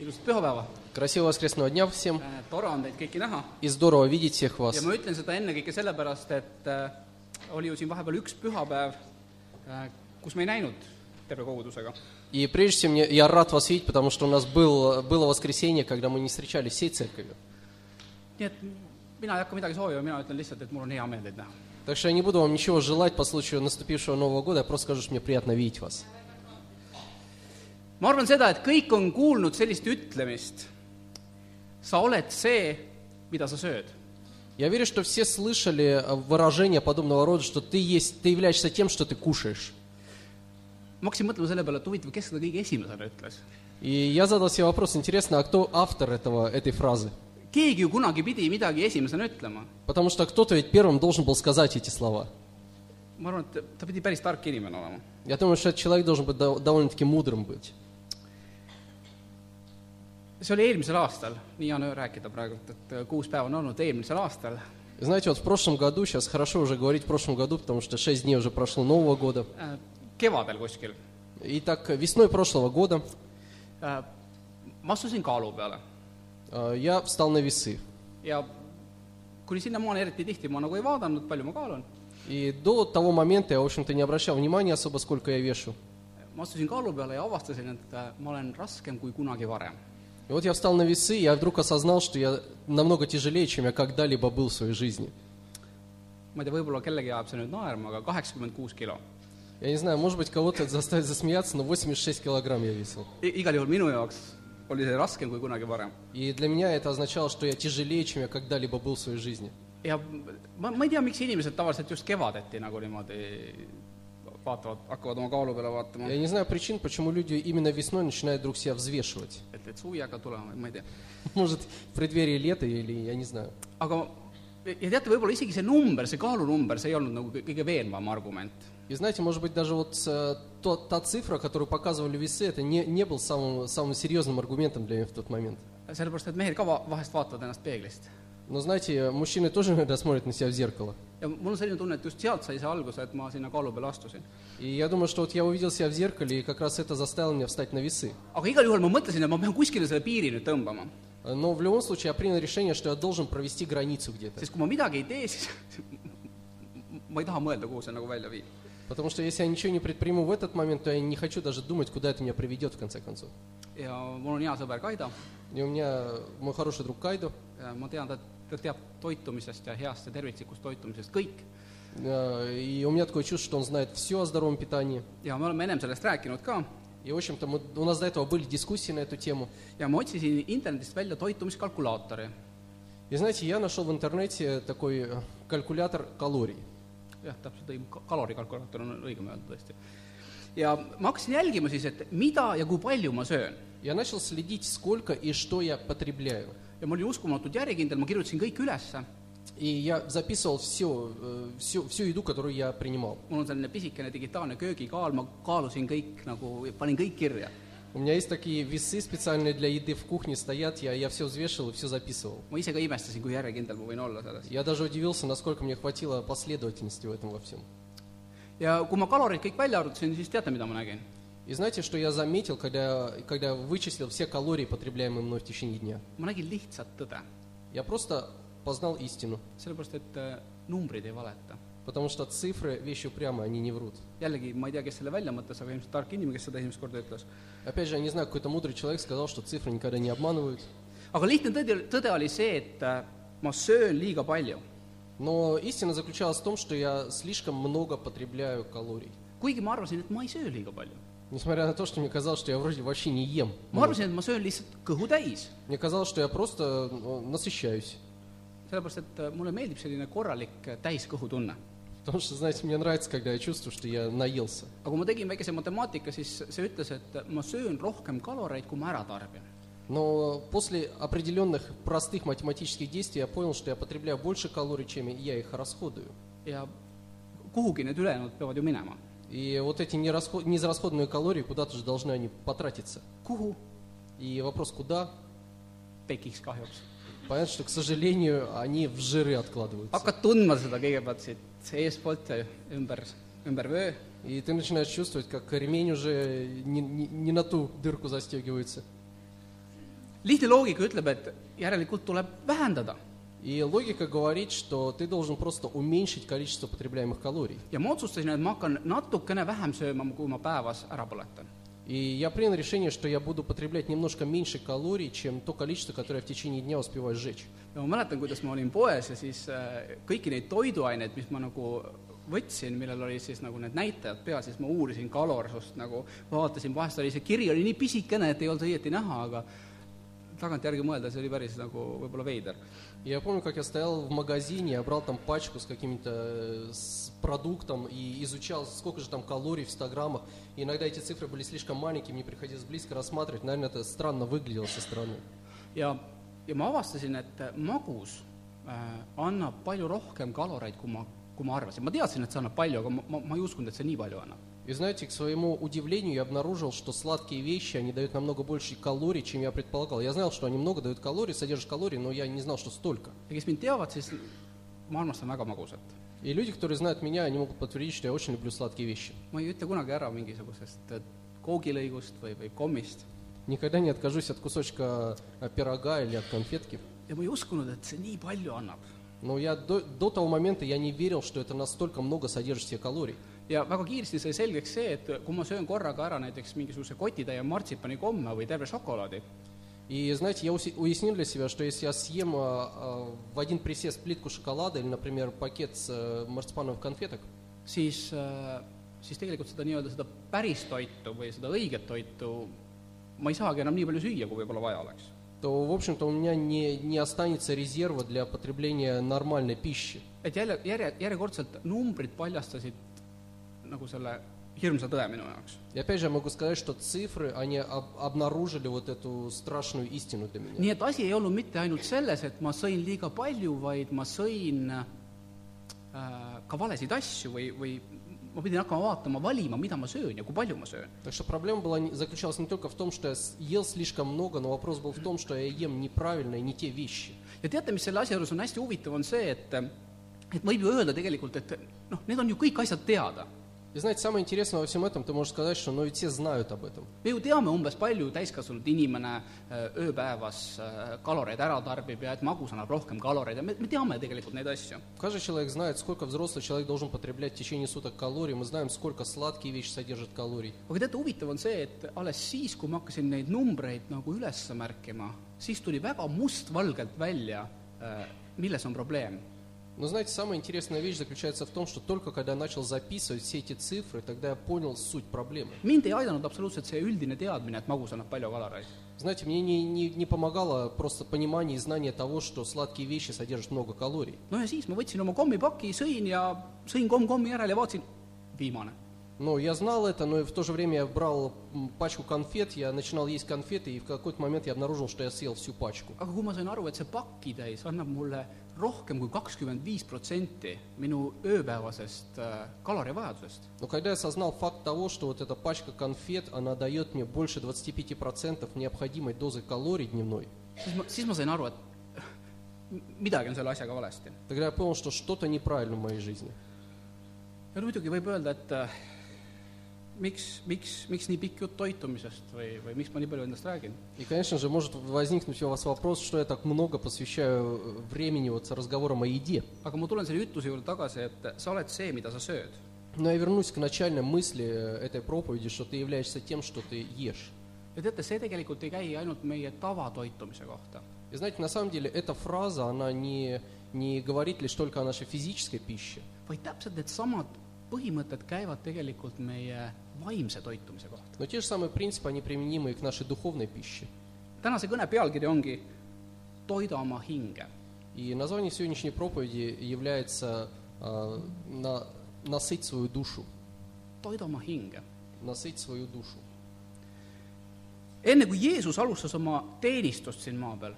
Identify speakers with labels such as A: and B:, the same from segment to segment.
A: ilusat pühapäeva ,
B: Красивого воскресного дня всем.
A: tore on teid kõiki näha
B: И здорово видеть всех вас.
A: ja ma ütlen seda ennekõike sellepärast , et äh, oli ju siin vahepeal üks pühapäev , kus me ei näinud terve kogudusega .
B: И прежде всего мне, я рад вас видеть, потому что у нас был, было воскресенье, когда мы не встречались всей церковью.
A: nii et mina ei hakka midagi soovima , mina ütlen lihtsalt , et mul on hea meel teid näha .
B: Так что я не буду вам ничего желать по случаю наступившего Нового года, я просто скажу, что мне приятно видеть вас.
A: ma arvan seda , et kõik on kuulnud sellist ütlemist , sa oled see , mida sa sööd .
B: Я верю, что все слышали э, выражение подобного рода, что ты, есть, ты являешься тем, что ты кушаешь.
A: ma hakkasin mõtlema selle peale , et huvitav , kes seda kõige esimesena ütles .
B: И я задал себе вопрос, интересно, а кто автор этого, этой фразы?
A: keegi ju kunagi pidi midagi esimesena ütlema .
B: Потому что кто-то ведь первым должен был сказать эти слова.
A: ma arvan , et ta pidi päris tark inimene olema .
B: Я думаю, что этот человек должен быть дов- довольно-таки мудрым быть.
A: see oli eelmisel aastal , nii on öö rääkida praegu , et äh, kuus päeva on olnud eelmisel aastal ,
B: Знаете, вот в прошлом году, сейчас хорошо уже говорить в прошлом году, потому что 6 дней уже прошло Нового года.
A: äh, kevadel kuskil ,
B: И так, э, весной прошлого года
A: Äh, ma astusin kaalu peale
B: э, я встал на весы.
A: ja kuni sinnamaani eriti tihti ma nagu ei vaadanud , palju ma kaalun ,
B: И до того момента я, в общем-то, не обращал внимания особо, сколько я вешу.
A: ma astusin kaalu peale ja avastasin , et äh, ma olen raskem kui kunagi varem .
B: И вот я встал на весы, и я вдруг осознал, что я намного тяжелее, чем я когда-либо был в своей жизни.
A: ma ei tea , võib-olla kellegi ajab see nüüd naerma , aga kaheksakümmend kuus kilo .
B: Я не знаю, может быть, кого-то это заставит засмеяться, но 86 килограмм я весил.
A: igal juhul minu jaoks oli see raskem kui kunagi varem .
B: И для меня это означало, что я тяжелее, чем я когда-либо был в своей жизни.
A: ja ma , ma ei tea , miks inimesed tavaliselt just kevadeti nagu niimoodi vaatavad , hakkavad oma kaalu peale vaatama .
B: Я не знаю причин, почему люди именно весной начинают вдруг себя взвешивать.
A: et , et suvi hakkab tulema , ma ei tea .
B: Может, в преддверии лета или я не знаю.
A: aga ja teate , võib-olla isegi see number , see kaalunumber , see ei olnud nagu kõi- kõige veenvam argument .
B: И знаете, может быть, даже вот э, то- та цифра, которую показывали весы, это не, не был самым, самым серьезным аргументом для меня в тот момент.
A: sellepärast , et mehed ka va- vahest vaatavad ennast peeglist .
B: Но знаете, мужчины тоже иногда смотрят на себя в зеркало.
A: ja mul on selline tunne , et just sealt sai see alguse , et ma sinna kaalu peale astusin .
B: И я думаю, что вот я увидел себя в зеркале, и как раз это заставило меня встать на весы.
A: aga igal juhul ma mõtlesin , et ma pean kuskile selle piiri nüüd tõmbama .
B: Но в любом случае я принял решение, что я должен провести границу где-то.
A: sest kui ma midagi ei tee , siis ma ei taha mõelda , kuhu see nagu välja viib .
B: Потому что если я ничего не предприму в этот момент, то я не хочу даже думать, kуда это меня приведет в конце концов.
A: ja mul on hea sõber Kaido ,
B: И у меня э, mой хороший друг Кайдо,
A: ma tean , ta , ta teab toitumisest ja heast ja tervislikust toitumisest kõik .
B: э, и у меня такое чувство, что он знает все о здоровом питании.
A: ja me oleme ennem sellest rääkinud ka
B: И, в общем-то, мы- у нас до этого были дискуссии на эту тему.
A: ja ma otsisin internetist välja toitumiskalkulaatori
B: И знаете, я нашел в интернете такой э, kalkulятор калорий.
A: jah , täpselt õige , kalorikalkulaator on õigem öelda tõesti . ja ma hakkasin jälgima siis , et mida ja kui palju ma söön .
B: Я начал следить, сколько и что я потребляю.
A: ja ma olin uskumatult järjekindel , ma kirjutasin kõik ülesse ,
B: И я записывал все, э, всю, всю еду, которую я принимал.
A: mul on selline pisikene digitaalne köögikaal , ma kaalusin kõik nagu , panin kõik kirja .
B: У меня есть такие весы специальные для еды в кухне стоят, я, я все взвешивал и все записывал.
A: ma ise ka imestasin , kui järjekindel ma võin olla selles .
B: Я даже удивился, насколько мне хватило последовательности в этом во всем.
A: ja kui ma kalorid kõik välja arvutasin , siis teate , mida ma nägin ?
B: И знаете, что я заметил, когда, когда я вычислил все калории, потребляемые мной в течение дня?
A: ma nägin lihtsat tõde ,
B: Я просто познал истину,
A: sellepärast et äh, numbrid ei valeta .
B: потому что цифры – вещи упрямые, они не врут.
A: jällegi , ma ei tea , kes selle välja mõtles , aga ilmselt tark inimene , kes seda esimest korda ütles .
B: Опять же, я не знаю, какой-то мудрый человек сказал, что цифры никогда не обманывают.
A: aga lihtne tõde , tõde oli see , et äh, ma söön liiga palju .
B: Но истина заключалась в том, что я slишком много потребляю калорий.
A: kuigi ma arvasin , et ma ei söö liiga palju .
B: Несмотря на то, что мне казалось, что я вроде вообще не ем.
A: ma arvasin , et ma söön lihtsalt kõhu täis ,
B: Мне казалось, что я просто ну, насыщаюсь.
A: sellepärast et äh, mulle meeldib selline korralik äh, täiskõhutunne .
B: Потому что, знаете, мне nравится, когда я чувствую, что я naелся.
A: aga kui ma tegin väikese matemaatika , siis see ütles , et äh, ma söön rohkem kaloreid , kui ma ära tarbin .
B: Но после определенных простых математических действий я понял, что я потребляю больше калорий, чем я их расходую.
A: ja kuhugi need ülejäänud peavad ju minema .
B: И вот эти нерасход- незарасходные калории куда-то же должны они потратиться.
A: kuhu ?
B: И вопрос, куда?
A: tekiks kahjuks .
B: Понятно, что, к сожалению, они в жиры откладываются.
A: hakkad tundma seda kõigepealt siit eespoolt ja ümber , ümber vöö
B: И ты начинаешь чувствовать, как ремень уже не, не- не на ту дырку застегивается.
A: lihtne loogika ütleb, et järelikult tuleb vähendada
B: И логика говорит, что ты должен просто уменьшить количество потребляемых калорий.
A: ja ma otsustasin, et ma hakkan natukene vähem sööma , kui ma päevas ära põletan .
B: И я принял решение, что я буду потреблять немножко меньше калорий, чем то количество, которое я в tечение дня успеваю сжечь.
A: ja ma mäletan , kuidas ma olin poes ja siis äh, kõiki neid toiduaineid , mis ma nagu võtsin , millel olid siis nagu need näitajad peal , siis ma uurisin kalorsust nagu , vaatasin , vahest oli see kiri oli nii pisikene , et ei olnud õieti näha , aga tagantjärgi mõeldes oli päris nagu võib-olla veider .
B: Я помню, как я стоял в магазине, я брал там пачку с каким-то э, с продуктом и изучал, сколько же там калорий в 100 граммах. И иногда эти цифры были слишком маленькие, мне приходилось близко рассматривать. Наверное, это странно выглядело со стороны.
A: ja , ja ma avastasin , et magus äh, annab palju rohkem kaloreid , kui ma , kui ma arvasin . ma teadsin , et see annab palju , aga ma, ma , ma ei uskunud , et see nii palju annab .
B: И знаете, к своему удивлению я обнаружил, что сладкие вещи, они дают намного больше калорий, чем я предполагал. Я знал, что они много дают калорий, содержат калорий, но я не знал, что столько.
A: ja kes mind teavad , siis ma armastan väga magusat .
B: И люди, которые знают меня, они могут подтвердить, что я очень люблю sладкие вещи.
A: ma ei ütle kunagi ära mingisugusest äh, koogilõigust või , või kommist
B: Никогда не откажусь от кусочка э, пирога или от конфетки.
A: ja ma ei uskunud , et see nii palju annab .
B: Но я до, до того момента я не верил, что это настолько много содержит в себе калорий.
A: ja väga kiiresti sai selgeks see , et kui ma söön korraga ära näiteks mingisuguse kotitäie martsipani komme või terve šokolaadi ,
B: И знаете, я уси- уяснил для себя, что если я съем а, а, в один присест плитку шоколада или, например, пакет с э, марципановых конфеток,
A: siis , siis tegelikult seda nii-öelda seda päris toitu või seda õiget toitu ma ei saagi enam nii palju süüa , kui võib-olla vaja oleks .
B: то, в общем-то, у меня не, не останется резерва для потребления нормальной пищи.
A: et jälle , järje , järjekordselt numbrid paljastasid nagu selle hirmsa tõe minu jaoks .
B: И опять же, я могу сказать, что цифры, они об- обнаружили вот эту страшную истину для меня.
A: nii et asi ei olnud mitte ainult selles , et ma sõin liiga palju , vaid ma sõin äh, ka valesid asju või , või ma pidin hakkama vaatama , valima , mida ma söön ja kui palju ma söön .
B: Так что проблема была, не- заключалась не только в том, что я с- ел слишком много, но вопрос был в том, что я ем неправильно и не те вещи.
A: ja teate , mis selle asja juures on hästi huvitav , on see , et et võib ju öelda tegelikult , et noh , need on ju kõik asjad teada .
B: И знаете, самое интересное во всем этом, ты можешь сказать, что ну ведь все знают об этом.
A: me ju teame umbes , palju täiskasvanud inimene äh, ööpäevas äh, kaloreid ära tarbib ja et magus annab rohkem kaloreid ja me , me teame tegelikult neid asju .
B: Каждый человек знает, сколько взрослый человек должен потреблять в течение суток калорий. Мы знаем, сколько сладкие вещи содержат калорий.
A: aga teate , huvitav on see , et alles siis , kui ma hakkasin neid numbreid nagu üles märkima , siis tuli väga mustvalgelt välja , milles on probleem .
B: Но знаете, самая интересная вещь заключается в том, что только когда я начал записывать все эти цифры, тогда я понял суть проблемы.
A: mind ei aidanud absoluutselt see üldine teadmine , et magus annab palju kaloreid .
B: Знаете, мне не, не- не помогало просто понимание и знание того, что сладкие вещи содержат много калорий.
A: no ja siis ma võtsin oma kommipaki , sõin ja sõin komm kommi järel ja vaatasin , viimane .
B: Но я знал это, но и в то же время я брал м, пачку конфет, я начинал есть конфеты, и в какой-то момент я обнаружил, что я съел всю пачку.
A: aga kui ma sain aru , et see pakitäis annab mulle rohkem kui kakskümmend viis protsenti minu ööpäevasest äh, kalorivajadusest ,
B: Но когда я осознал факт того, что вот эта пачка конфет, она дает мне больше 25% необходимой дозы калорий дневной,
A: siis ma , siis ma sain aru , et äh, midagi on selle asjaga valesti .
B: тогда я понял, что что-то неправильно в моей жизни.
A: ja no muidugi võib öelda , et äh, miks , miks , miks nii pikk jutt toitumisest või , või miks ma nii palju endast räägin .
B: И, конечно же, может возникнуть у вас вопрос, что я так много посвящаю э, времени вот с разговором о еде.
A: aga ma tulen selle ütluse juurde tagasi , et äh, sa oled see , mida sa sööd .
B: Но я вернусь к начальной мысли э, этой проповеди, что ты являешься тем, что ты ешь.
A: ja teate , see tegelikult ei käi ainult meie tavatoitumise kohta .
B: И знаете, на самом деле эта фраза, она не, не говорит лишь только о нашей физической пище,
A: vaid täpselt needsamad põhimõtted käivad tegelikult meie vaimse toitumise kohta .
B: но те же самые принципы, они применимы и к нашей духовной пище.
A: tänase kõne pealkiri ongi Toida oma hinge .
B: И название сегодняшней проповеди является э, на- «Насыть свою душу».
A: toida oma hinge .
B: Насыть свою душу.
A: enne kui Jeesus alustas oma teenistust siin maa peal ,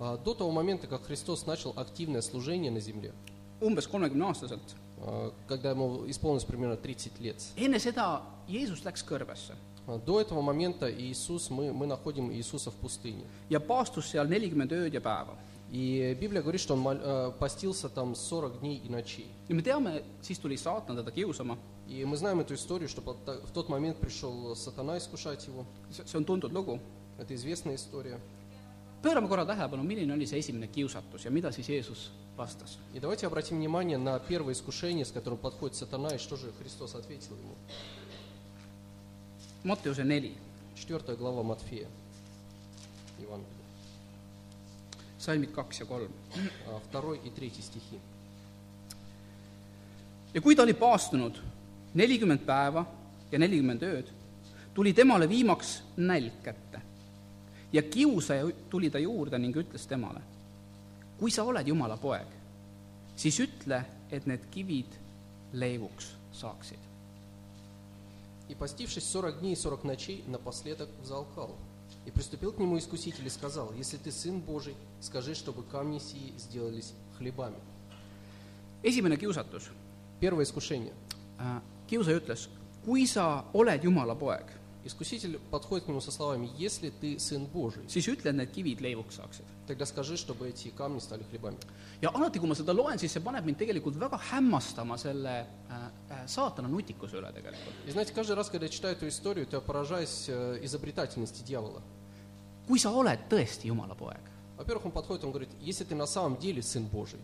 B: А, До того момента, как Христос начал активное slужение на земле,
A: umbes kolmekümneaastaselt ,
B: э, когда ему исполнилось примерно 30 лет,
A: enne seda Jeesus läks kõrbesse
B: а, до этого момента Иисус, мы, мы naходим Иисуса в пустыне.
A: ja paastus seal nelikümmend ööd ja päeva .
B: И Библия говорит, что он мол- э, постился там 40 дней и ночей.
A: ja me teame , siis tuli saatan teda kiusama ,
B: И мы знаем эту историю, что под- в тот момент пришел сатана искушать его.
A: see see on tuntud lugu ,
B: Это известная история.
A: pöörame korra tähelepanu , milline oli see esimene kiusatus ja mida siis Jeesus vastas .
B: И давайте обратим внимание на первое искушение, с которым подходит сатана, и что же Христос ответил ему.
A: Mattiuse neli ,
B: Четвертая глава Матфея, Евангелие,
A: salmid kaks ja kolm .
B: а, второй и третий стихи.
A: ja kui ta oli paastunud nelikümmend päeva ja nelikümmend ööd , tuli temale viimaks nälg kätte . ja kiusaja tuli ta juurde ning ütles temale , kui sa oled Jumala poeg , siis ütle , et need kivid leivuks saaksid .
B: «И постившись сорок дней и сорок ночей, напоследок залкал. И приступил к нему искуситель и сказал, «Если ты Сын Божий, скажи, чтобы камни сии сделались хлебами».
A: esimene kiusatus .
B: Первое искушение.
A: kiusaja ütles , kui sa oled Jumala poeg ,
B: Искуситель подходит к нему со словами, «Если ты Сын Божий,
A: siis ütle , et need kivid leivuks saaksid .
B: тогда скажи, чтобы эти камни стали хлебами».
A: ja alati , kui ma seda loen , siis see paneb mind tegelikult väga hämmastama selle äh, äh, saatana nutikuse üle tegelikult .
B: И знаете, каждый раз, когда я читаю эту историю, то я поражаюсь э, изобретательности дьявола.
A: kui sa oled tõesti Jumala poeg .
B: Во-первых, он подходит, он говорит, если ты на самом деле Сын Божий,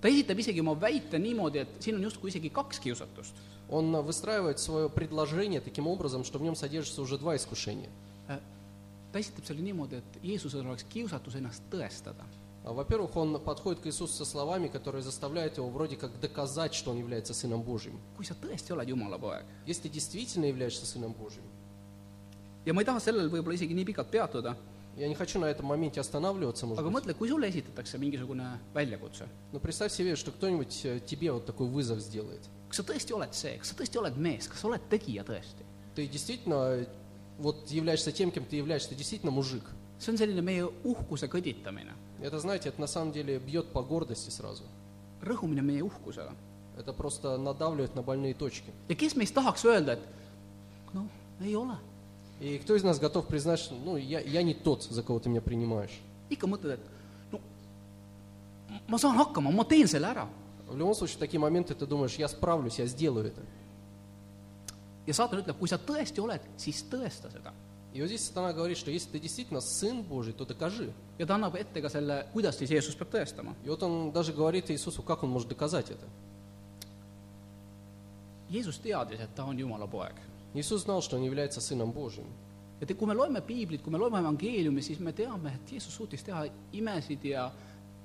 A: ta esitab isegi oma väite niimoodi , et siin on justkui isegi kaks kiusatust .
B: он э, выстраивает свое предложение таким образом, что в нем содержится уже два искушения.
A: Äh, ta esitab selle niimoodi , et Jeesusel oleks kiusatus ennast tõestada .
B: А, Во-первых, он подходит к Иисусу со словами, которые заставляют его вроде как доказать, что он является Сыном Божьим.
A: kui sa tõesti oled Jumala poeg
B: Если ты действительно являешься Сыном Божьим,
A: ja ma ei taha sellel võib-olla isegi nii pikalt peatuda ,
B: я не хочу на этом моменте останавливаться, может
A: aga
B: быть,
A: mõtle , kui sulle esitatakse mingisugune väljakutse ,
B: но представь себе, что кто-нибудь э, тебе вот такой вызов сделает.
A: kas sa tõesti oled see , kas sa tõesti oled mees , kas sa oled tegija tõesti ?
B: Ты действительно э, вот являешься тем, кем ты являешься, ты действительно мужик.
A: see on selline meie uhkuse kõditamine ,
B: Это, знаете, это на самом деле бьет по гордости сразу.
A: rõhumine meie uhkusele .
B: Это просто надавливает на больные точки.
A: ja kes meist tahaks öelda , et noh , ei ole
B: И кто из нас готов признать, что ну, я, я не тот, за кого ты меня принимаешь?
A: ikka mõtled , et no ma saan hakkama , ma teen selle ära .
B: В любом случае, в такие моменты ты думаешь, я справлюсь, я сделаю это.
A: ja saatan ütleb , kui sa tõesti oled , siis tõesta seda .
B: И вот здесь сатана говорит, что если ты действительно сын Божий, то докажи.
A: ja ta annab ette ka selle , kuidas siis Jeesus peab tõestama .
B: И вот он даже говорит Иисусу, как он может доказать это.
A: Jeesus teadis , et ta on Jumala poeg .
B: Иисус знал, что он является сыном Божьим.
A: et kui me loeme piiblit , kui me loeme evangeeliumi , siis me teame , et Jeesus suutis teha imesid ja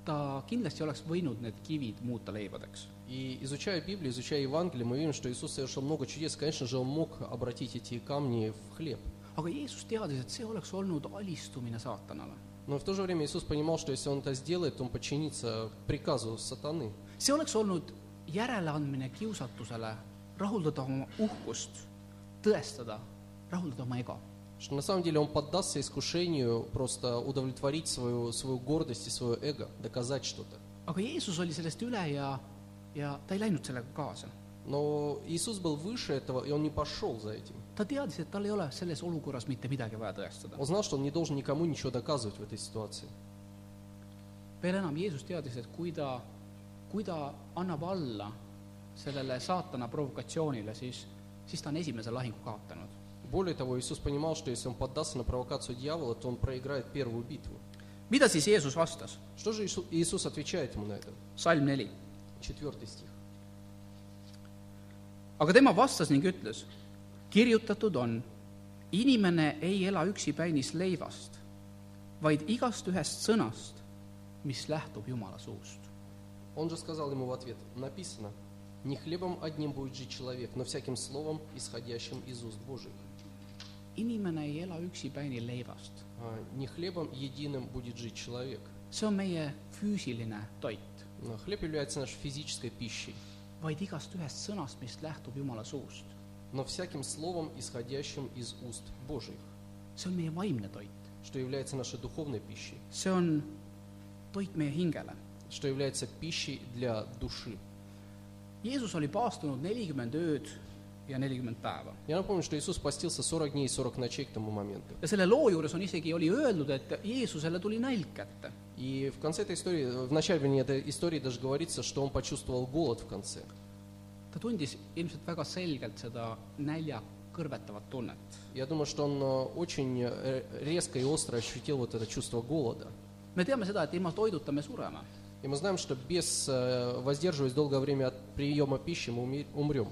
A: ta kindlasti oleks võinud need kivid muuta leibadeks .
B: И изучая Библию, изучая Евангелие, мы видим, что Иисус совершил много чудес. Конечно же, он мог обратить эти камни в хлеб.
A: aga Jeesus teadis , et see oleks olnud alistumine saatanale .
B: Но в то же время Иисус понимал, что если он это сделает, то он подчинится приказу сатаны.
A: see oleks olnud järeleandmine kiusatusele rahuldada oma uhkust , tõestada , rahuldada oma ego .
B: Что на самом деле он поддастся искушению просто удовлетворить свою, свою гордость и свое эго, доказать что-то.
A: aga Jeesus oli sellest üle ja , ja ta ei läinud sellega kaasa .
B: Но Иисус был выше этого, и он не пошел за этим.
A: ta teadis , et tal ei ole selles olukorras mitte midagi vaja tõestada .
B: Он знал, что он не должен никому ничего доказывать в этой ситуации.
A: veel enam , Jeesus teadis , et kui ta , kui ta annab alla sellele saatana provokatsioonile , siis , siis ta on esimese lahingu kaotanud .
B: Более того, Иисус понимал, что если он поддастся на провокацию дьявола, то он проиграет первую битву.
A: mida siis Jeesus vastas ?
B: Что же Иису- Иисус отвечает ему на это?
A: salm neli .
B: Четвертый стих.
A: aga tema vastas ning ütles , kirjutatud on , inimene ei ela üksipäinis leivast , vaid igast ühest sõnast , mis lähtub Jumala suust .
B: Он же сказал ему в ответ, написано, «Не хлебом одним будет жить человек, но всяким словом, исходящим из уст Божьих».
A: inimene ei ela üksipäini leivast ,
B: А, «Не хлебом единым будет жить человек».
A: see on meie füüsiline toit ,
B: Но Хлеб является нашей физической пищей,
A: vaid igast ühest sõnast , mis lähtub Jumala suust .
B: но всяким словом, исходящим из уст Божьих,
A: see on meie vaimne toit ,
B: что является нашей духовной пищей,
A: see on toit meie hingele .
B: что является пищей для души.
A: Jeesus oli paastunud nelikümmend ööd ja nelikümmend päeva .
B: Я напомню, что Иисус постился 40 дней и 40 ночей к тому моменту.
A: ja selle loo juures on isegi , oli öeldud , et Jeesusele tuli nälg kätte
B: И в конце этой истории, в начале вернее, этой истории даже говорится, что он почувствовал голод в конце.
A: ta tundis ilmselt väga selgelt seda nälja kõrvetavat tunnet .
B: Я думаю, что он э, очень э, резко и остро ощутил вот это чувство голода.
A: me teame seda , et ilma toiduta me sureme .
B: И мы знаем, что без э, воздерживаясь долгое время от приема пищи мы уми- умрем.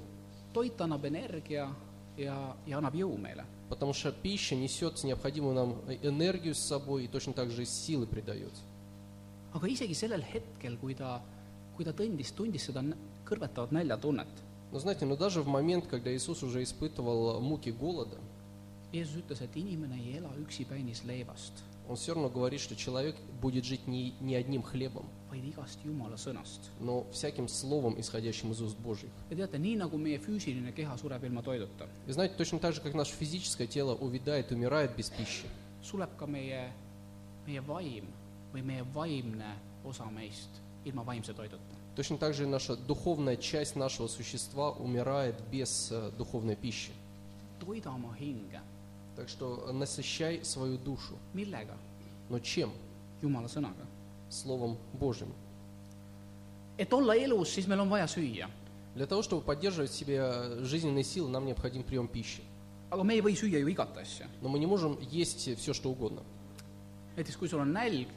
A: toit annab energia ja , ja annab jõu meile .
B: Потому что пища несет необходимую нам э, энергию с собой и точно так же силы придает.
A: aga isegi sellel hetkel , kui ta , kui ta tõndis , tundis seda nä- kõrvetavat näljatunnet ,
B: Но знаете, но даже в момент, когда Иисус уже испытывал муки голода,
A: Jeesus ütles , et inimene ei ela üksipäinis leivast ,
B: он все равно говорит, что человек будет жить не, не одним хлебом,
A: vaid igast Jumala sõnast .
B: но всяким словом, исходящим из уст Божьих.
A: ja teate , nii nagu meie füüsiline keha sureb ilma toiduta ,
B: И знаете, точно так же, как наше физическое тело увядает, умирает без пищи,
A: suleb ka meie , meie vaim või meie vaimne osa meist ilma vaimse toiduta .
B: точно так же и наша духовная часть нашего существа умирает без э, духовной пищи.
A: toida oma hinge ,
B: Так что насыщай свою душу.
A: millega ?
B: Но чем?
A: Jumala sõnaga .
B: Словом Божьим.
A: et olla elus , siis meil on vaja süüa ,
B: Для того, чтобы поддерживать в себе э, жизненные силы, нам необходим прием пищи.
A: aga me ei või süüa ju igat asja .
B: Но мы не можем есть все, что угодно.
A: näiteks kui sul on nälg ,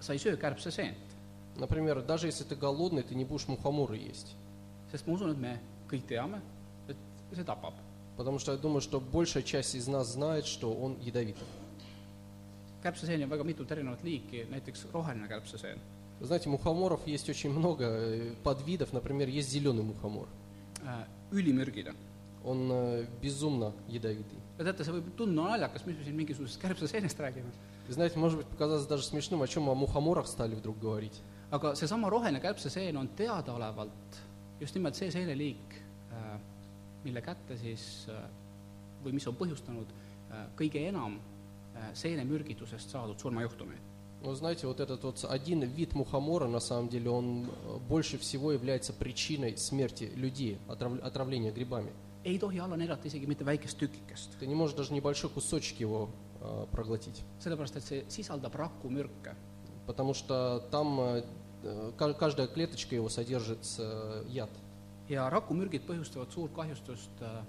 A: sa ei söö kärbseseent ,
B: Например, даже если ты голодный, ты не будешь мухоморы есть.
A: sest ma usun , et me kõik teame , et see tapab .
B: Потому что я думаю, что большая часть из нас знает, что он ядовит.
A: kärbseseeni on väga mitut erinevat liiki , näiteks roheline kärbseseen .
B: Вы знаете, мухоморов есть очень много э, подвидов. Например, есть зеленый мухомор.
A: Äh, ülimürgine .
B: Он э, безумно ядовитый.
A: ja teate , see võib tunduda naljakas , mis me siin mingisugusest kärbseseenest räägime ,
B: Вы знаете, может быть, показаться даже смешным, о чем о мухоморах стали вдруг говорить.
A: aga seesama roheline kärbseseen on teadaolevalt just nimelt see seeneliik , mille kätte siis äh, või mis on põhjustanud äh, kõige enam äh, seenemürgitusest saadud surmajuhtumeid .
B: Ну, знаете, вот этот вот один вид мухомора, на самом деле, он э, больше всего является причиной смерти людей, отрав- отравления грибами.
A: ei tohi alla neelata isegi mitte väikest tükikest ,
B: Ты не можешь даже небольшой кусочек его э, проглотить,
A: sellepärast et see sisaldab rakumürke .
B: потому что там э, э, ка- каждая клеточка его содержит э, яд.
A: ja rakumürgid põhjustavad suurt kahjustust äh,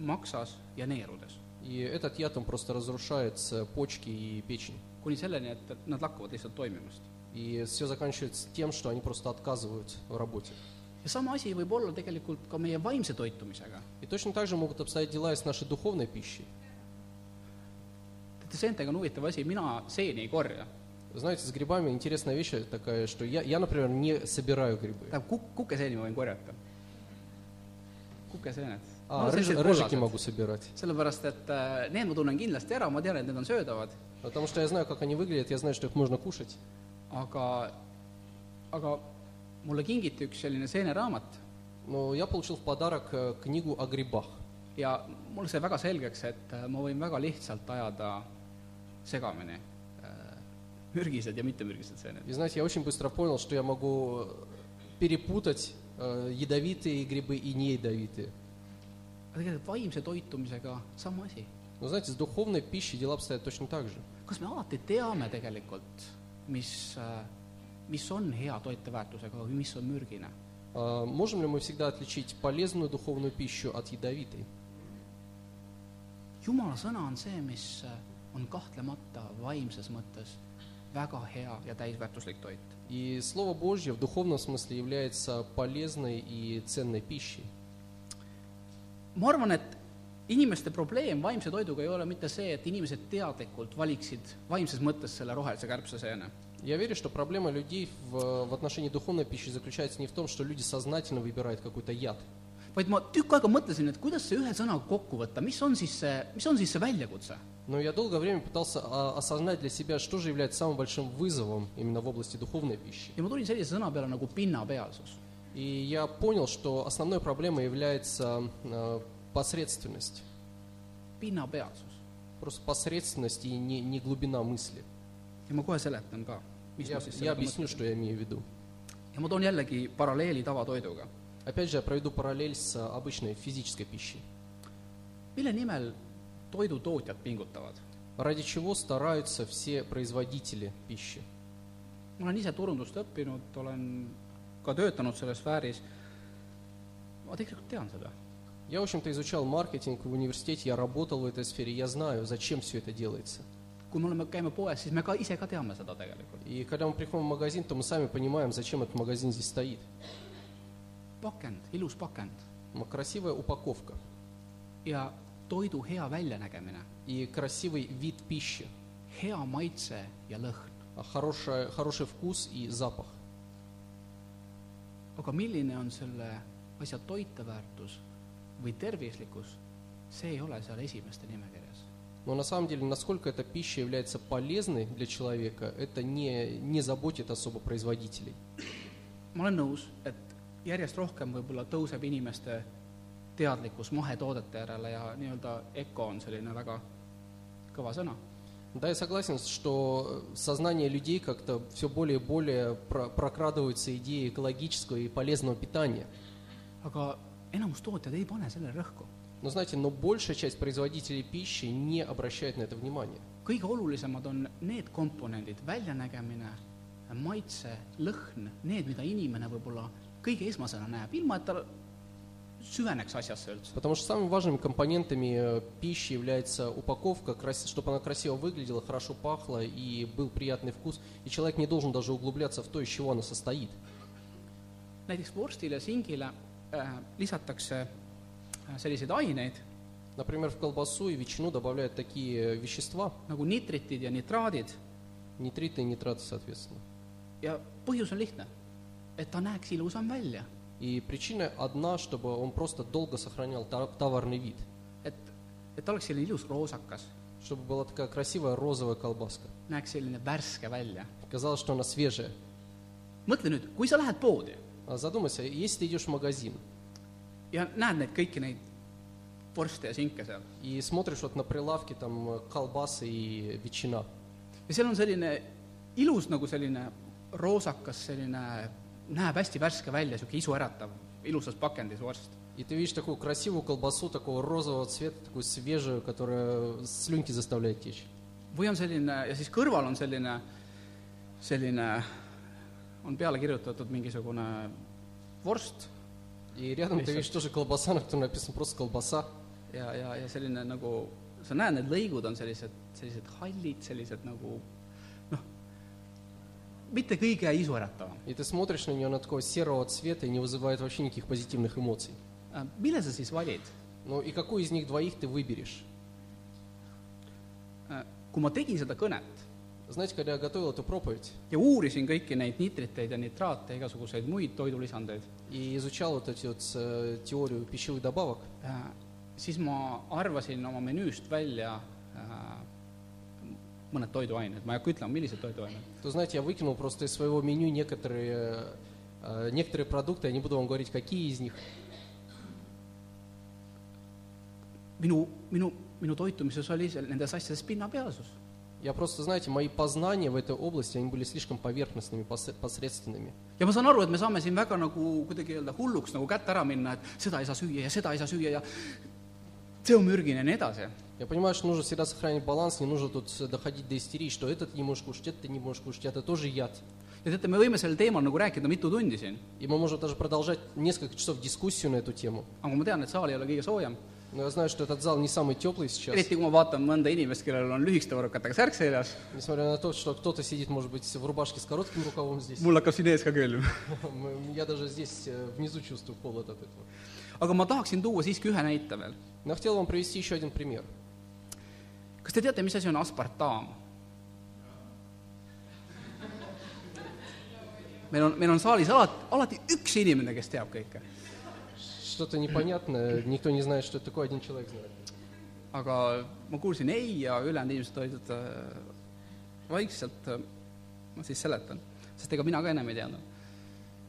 A: maksas ja neerudes ,
B: И этот яд, он просто разрушает э, почки и печень.
A: kuni selleni , et nad lakkavad lihtsalt toimimast .
B: И все заканчивается тем, что они просто отказывают в работе.
A: ja sama asi võib olla tegelikult ka meie vaimse toitumisega .
B: И точно так же могут обстоять дела и с нашей духовной пищей.
A: teate , seentega on huvitav asi , mina seeni ei korja .
B: Вы знаете, с грибами интересная вещь такая, что я, я например, не собираю грибы.
A: tähendab , kuk- , kukeseeni ma võin korjata . kukeseened .
B: А, рыж- рыжики могу собирать.
A: sellepärast , et äh, need ma tunnen kindlasti ära , ma tean , et need on söödavad ,
B: Потому что я знаю, как они выглядят, я знаю, что их можно кушать.
A: aga , aga mulle kingiti üks selline seeneraamat
B: Но я получил в подарок э, книгу о грибах.
A: ja mul sai väga selgeks , et äh, ma võin väga lihtsalt ajada segamini äh, mürgised ja mittemürgised seened .
B: И знаете, я очень быстро понял, что я могу э, перепутать э, ядовитые грибы и неядовитые.
A: aga tegelikult vaimse toitumisega sama asi .
B: Но знаете, с духовной пищей дела обстоят точно так же.
A: kas me alati teame tegelikult , mis , mis on hea toiteväärtusega või mis on mürgine ?
B: А можем ли мы всегда отличить полезную духовную пищу от ядовитой?
A: jumala sõna on see , mis äh, on kahtlemata vaimses mõttes väga hea ja täisväärtuslik toit .
B: И Слово Божье в духовном смысле является полезной и ценной пищей.
A: ma arvan , et inimeste probleem vaimse toiduga ei ole mitte see , et inimesed teadlikult valiksid vaimses mõttes selle rohelise kärbseseene ,
B: Я верю, что проблема людей в, в отношении духовной пищи заключается не в том, что люди soзнательно выбирают какой-то яд.
A: vaid ma tükk aega mõtlesin , et kuidas see ühe sõnaga kokku võtta , mis on siis see , mis on siis see väljakutse .
B: Но я долгое время пытался а, осознать для себя, что же является самым большим вызовом именно в области духовной пищи.
A: ja ma tulin sellise sõna peale nagu pinnapealsus .
B: И я понял, что основной проблемой является э, посредственность.
A: pinnapealsus .
B: Просто посредственность и не, не глубина мысли.
A: ja ma kohe seletan ka , mis ma
B: Я,
A: siis sellega
B: я объясню, что я имею в виду.
A: mõtlen . ja ma toon jällegi paralleeli tavatoiduga .
B: Опять же, я проведу параллель с э, обычной физической пищей.
A: mille nimel toidutootjad pingutavad ?
B: Ради чего стараются все производители пищи.
A: ma olen ise turundust õppinud , olen ka töötanud selles sfääris , ma tegelikult tean seda .
B: Я, в общем-то, изучал маркетинг в университете, я работал в этой сфере, я знаю, зачем все это делается.
A: kui me oleme , käime poes , siis me ka ise ka teame seda tegelikult .
B: И когда мы приходим в магазин, то мы сами понимаем, зачем этот магазин здесь стоит.
A: pakend , ilus pakend
B: М, Красивая упаковка
A: ja toidu hea väljanägemine ,
B: и красивый вид пищи,
A: hea maitse ja lõhn .
B: а хорошая, хороший вкус и запах.
A: aga milline on selle asja toiteväärtus või tervislikkus , see ei ole seal esimeste nimekirjas .
B: Но на самом деле, насколько эта пища является полезной для человека, это не, не заботит особо производителей.
A: ma olen nõus , et järjest rohkem võib-olla tõuseb inimeste teadlikkus mahetoodete järele ja nii-öelda EKO on selline väga kõva sõna .
B: Да, я согласен, что э, в сознание людей как-то все более и более про- прокрадываются идеи экологического и полезного питания.
A: aga enamus tootjad ei pane sellele rõhku .
B: Но знаете, но большая часть производителей пищи не обращает на это внимания.
A: kõige olulisemad on need komponendid , väljanägemine , maitse , lõhn , need , mida inimene võib-olla kõige esmasena näeb , ilma et ta süveneks asjasse üldse .
B: Потому что самыми важными компонентами э, пищи является упаковка, чтобы она красиво выглядела, хорошо пахла и был приятный вкус. И человек не должен даже углубляться в то, из чего она состоит.
A: näiteks vorstile , singile äh, lisatakse äh, selliseid aineid
B: Например, в колбасу и ветчину добавляют такие э, вещества,
A: nagu nitritid ja nitraadid
B: нитриты и нитраты, соответственно.
A: ja põhjus on lihtne , et ta näeks ilusam välja ,
B: И причина одна, чтобы он просто долго сохранял та- товарный вид,
A: et , et ta oleks selline ilus roosakas ,
B: чтобы была такая красивая розовая колбаска.
A: näeks selline värske välja .
B: Казалось, что она свежая.
A: mõtle nüüd , kui sa lähed poodi
B: А Задумайся, если ты идешь в магазин
A: ja näed neid kõiki neid vorste ja sinke seal
B: и смотришь вот на прилавке там э, колбасы и ветчина,
A: ja seal on selline ilus nagu selline roosakas , selline näeb hästi värske välja , niisugune isuäratav , ilusas pakendis vorst .
B: и ты видишь такую красивую колбасу такого розового цвета, такую свежую, которая слюнки заставляет течь.
A: või on selline , ja siis kõrval on selline , selline , on peale kirjutatud mingisugune vorst
B: И рядом ты
A: Лисят.
B: видишь тоже колбаса, на которой написано просто колбаса.
A: ja , ja , ja selline nagu , sa näed , need lõigud on sellised , sellised hallid , sellised nagu noh , mitte kõige isuäratavam .
B: И ты смотришь на нее, она такого серого цвета и не вызывает вообще никаких позитивных эмоций.
A: Äh, mille sa siis valid ?
B: Ну и какую из них двоих ты выберешь?
A: Äh, kui ma tegin seda kõnet
B: Знаете, когда я готовил эту проповедь
A: ja uurisin kõiki neid nitriteid ja nitraate ja igasuguseid muid toidulisandeid ,
B: и изучал вот эти вот э, теорию пищевых добавок,
A: äh, siis ma arvasin oma menüüst välja äh, mõned toiduained , ma ei hakka ütlema , millised toiduained .
B: то, знаете, я выкинул просто из своего меню некоторые, э, некоторые продукты, я не буду вам говорить, какие из них.
A: minu , minu , minu toitumises oli seal nendes asjades pinnapealsus .
B: Я просто, знаете, мои познания в этой области, они были слишком поверхностными, посе- посредственными.
A: ja ma saan aru , et me saame siin väga nagu kuidagi öelda hulluks nagu kätte ära minna , et seda ei saa süüa ja seda ei saa süüa ja see on mürgine ja nii edasi .
B: Я понимаю, что нужно всегда сохранить баланс, не нужно тут э, доходить до истерии, что этот не можешь кушать, этот ты не можешь кушать, это тоже яд.
A: ja teate , me võime sel teemal nagu rääkida mitu tundi siin ,
B: И мы можем даже продолжать несколько часов дискуссию на эту тему.
A: aga ma tean , et saal ei ole kõige soojem ,
B: Но я знаю, что этот зал не самый теплый сейчас.
A: eriti kui ma vaatan mõnda inimest , kellel on lühikeste võrukatega särk seljas ,
B: Несмотря на то, что кто-то сидит, может быть, в рубашке с коротким рукавом здесь.
A: mul hakkab siin ees ka külm .
B: М, Я даже здесь э, внизу чувствую холод от этого.
A: aga ma tahaksin tuua siiski ühe näite veel .
B: Но я хотел вам привести еще один пример.
A: kas te teate , mis asi on aspartam ? meil on , meil on saalis alati , alati üks inimene , kes teab kõike .
B: Что-то непонятное, никто не знает, что это такое, один человек знает.
A: aga ma kuulsin ei ja ülejäänud inimesed olid äh, vaikselt , ma siis seletan , sest ega mina ka ennem ei teadnud .